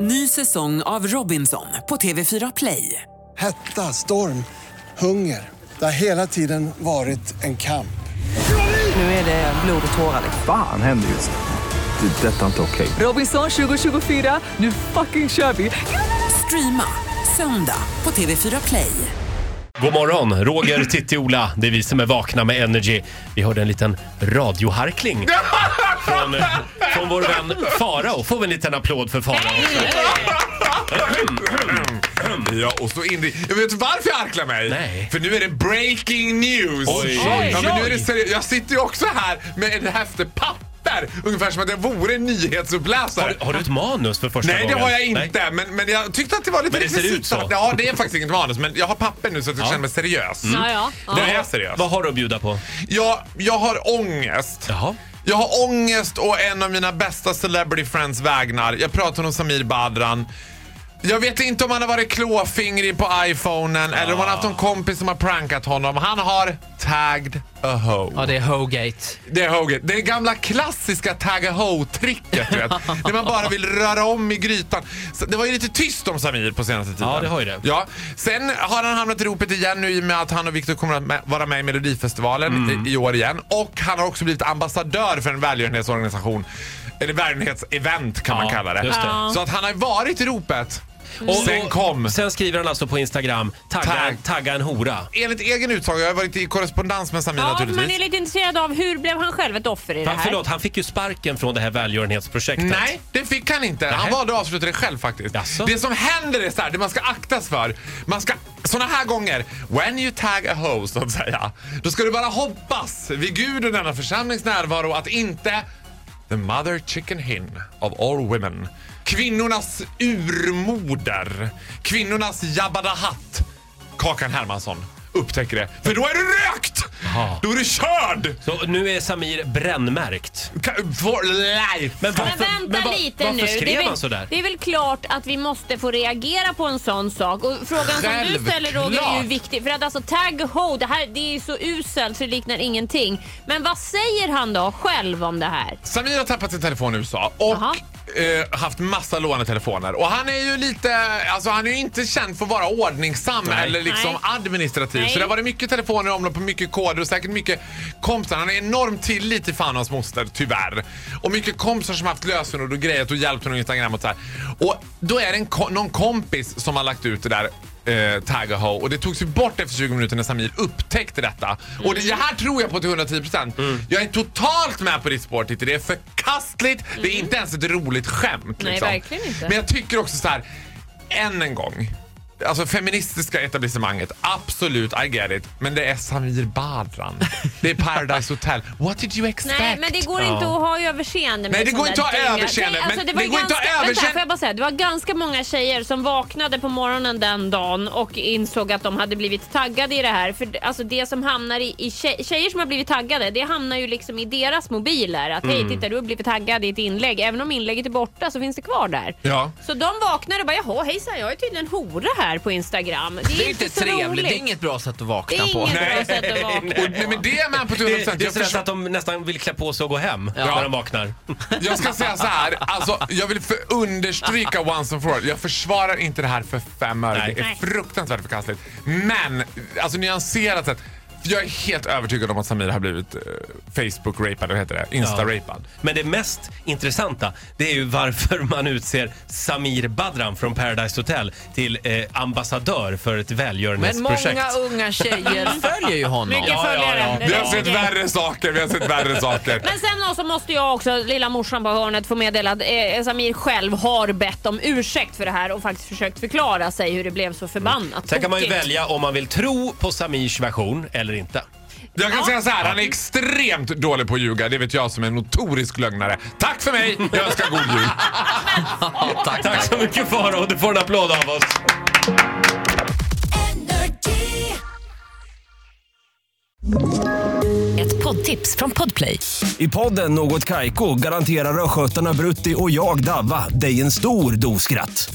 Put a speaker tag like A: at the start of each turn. A: Ny säsong av Robinson på TV4 Play.
B: Hetta, storm, hunger. Det har hela tiden varit en kamp.
A: Nu är det blod och tårar. liksom.
C: Fan händer just nu. Det. är Detta är inte okej.
A: Robinson 2024, nu fucking kör vi! Streama söndag på TV4 Play.
D: God morgon, Roger, Titti, Ola. Det är vi som är vakna med Energy. Vi hörde en liten radioharkling från, från vår vän Farao. Får vi en liten applåd för Farao?
E: Ja, och så in i... Jag vet varför jag harklar mig?
D: Nej.
E: För nu är det breaking news!
D: Oj.
E: Ja, men nu är det seri- jag sitter ju också här med en häfte papper, ungefär som att jag vore en nyhetsuppläsare.
D: Har, du- har du ett manus för första
E: Nej,
D: gången?
E: det har jag inte, men, men jag tyckte att det var lite
D: Men det ser ut
E: rekvisita.
D: så.
E: Ja, det är faktiskt inget manus, men jag har papper nu så att jag känner mig seriös. Mm.
F: Ja, ja. ja.
E: Det är seriöst.
D: Vad har du att bjuda på?
E: Jag, jag har ångest.
D: Jaha.
E: Jag har ångest och en av mina bästa celebrity friends vägnar. Jag pratar om Samir Badran. Jag vet inte om han har varit klåfingrig på iPhonen eller om han har haft någon kompis som har prankat honom. Han har tagged a hoe.
G: Ja, det är Hogate.
E: Det är Hogan. Det är det gamla klassiska tag a hoe-tricket, du vet. När man bara vill röra om i grytan. Så det var ju lite tyst om Samir på senaste tiden.
D: Ja, det har ju det.
E: Ja. Sen har han hamnat i ropet igen nu i och med att han och Victor kommer att med- vara med i Melodifestivalen
D: Mm.
E: i, i år igen. Och han har också blivit ambassadör för en välgörenhetsorganisation. Eller välgörenhetsevent kan
D: Ja,
E: man kalla det.
D: just det.
E: Så att han har varit i ropet. Och, sen kom...
D: Sen skriver han alltså på Instagram, tagga,
E: Tagg.
D: tagga en hora.
E: Enligt egen utsago, jag har varit i korrespondens med Samir
F: Ja, för
E: naturligtvis.
F: man är lite intresserad av hur blev han själv ett offer i det
D: Han,
F: här?
D: förlåt, han fick ju sparken från det här välgörenhetsprojektet.
E: Nej, det fick han inte. Han
D: Nähä.
E: valde att avsluta det själv faktiskt.
D: Jaså?
E: Det som händer är så här, det man ska aktas för. Man ska, såna här gånger, when you tag a hoe så att säga, då ska du bara hoppas vid Gud och denna församlings närvaro att inte the mother chicken hin of all women, kvinnornas urmoder, kvinnornas Jabba the Hutt, Kakan Hermansson, upptäcker det. För då är du rökt!
D: Jaha.
E: Då är du körd!
D: Så nu är Samir brännmärkt.
E: Ka- For life!
F: Men vänta
D: men va-
F: lite
D: varför
F: nu. det, är
D: skrev
F: väl,
D: han sådär?
F: det är väl klart att vi måste få reagera på en sån sak. Och frågan som du
E: Självklart.
F: ställer Roger är ju viktig. För att alltså tag ho, det här det är så uselt så det liknar ingenting. Men vad säger han då själv om det här?
E: Samir har tappat sin telefon i USA och
F: Jaha.
E: eh, haft massa lånade telefoner. Och han är ju lite, alltså han är ju inte känd för att vara ordningsam
D: Nej.
E: eller liksom
F: Nej.
E: administrativ.
F: Nej.
E: Så det har varit mycket telefoner i omlopp och mycket koder och säkert mycket kompisar. Han har enorm tillit till fan och hans moster, tyvärr. Och mycket kompisar som har haft lösenord och grejat och hjälpt honom på Instagram och så här. Och då är det en, ko- någon kompis som har lagt ut det där Eh, tagga ho och det togs ju bort efter 20 minuter när Samir upptäckte detta.
F: Mm.
E: Och det, det här tror jag på till 110%. Jag är totalt med på ditt spår Titti. Det är förkastligt. Det är inte ens ett roligt skämt.
F: Mm. Nej,
E: liksom.
F: verkligen inte.
E: Men jag tycker också så här, än en gång. Alltså feministiska etablissemanget, absolut I get it. Men det är Samir Badran. Det är Paradise Hotel. What did you expect?
F: Nej, men det går inte att ha överseende med
E: Nej, det
F: sån
E: går inte
F: där
E: att ha
F: dänga.
E: överseende,
F: Nej, alltså,
E: men
F: det, var
E: det
F: ju
E: går inte att
F: ganska,
E: ha
F: vänta,
E: överseende-
F: får jag bara säga, det var ganska många tjejer som vaknade på morgonen den dagen och insåg att de hade blivit taggade i det här. För det- alltså, det som hamnar i, i tje- tjejer som har blivit taggade, det hamnar ju liksom i deras mobiler. Att
E: Mm.
F: hej, titta du har blivit taggad i ett inlägg. Även om inlägget är borta så finns det kvar där.
E: Ja.
F: Så de vaknade och bara jaha hejsan, jag är tydligen hora här på Instagram. Det är,
G: Det är inte
F: så
G: trevligt. Det är
F: roligt.
G: inget bra sätt att
F: Det
G: vakna
F: är
G: på.
F: inget bra sätt att vakna
E: Och, nej, men det är jag med på till 100%.
D: Det, det är sådär
E: Jag
D: så
E: förstår-
D: att de nästan vill klä på sig och gå hem när de vaknar.
E: Jag ska säga så här, alltså, jag vill för understryka once and for all. Jag försvarar inte det här för fem öre.
D: Nej.
E: Det är
F: Nej.
E: fruktansvärt förkastligt. Men, alltså nyanserat sett. för Jag är helt övertygad om att Samir har blivit eh, Facebook-rapad, eller heter det? Insta-rapad.
D: Men det mest intressanta, det är ju varför man utser Samir Badran från Paradise Hotel till eh, ambassadör för ett
G: Men
D: välgörenhetsprojekt.
G: många unga tjejer följer ju honom.
F: Mycket följare. Det är
E: Vi har sett
F: okej.
E: värre saker, vi har sett värre saker.
F: Men sen då så måste jag också, lilla morsan på hörnet, få meddela att eh, Samir själv har bett om ursäkt för det här och faktiskt försökt förklara sig hur det blev så förbannat
D: Sen kan man ju
F: tokigt.
D: välja om man vill tro på Samirs version eller inte.
E: Jag kan säga så här, han är extremt dålig på att ljuga. Det vet jag som är en notorisk lögnare. Tack för mig, jag önskar god jul.
D: Tack, så mycket Farao, du får en applåd av oss.
H: Ett poddtips från Podplay.
I: I podden Något Kaiko garanterar östgötarna Brutti och jag, Davva, dig en stor dos skratt.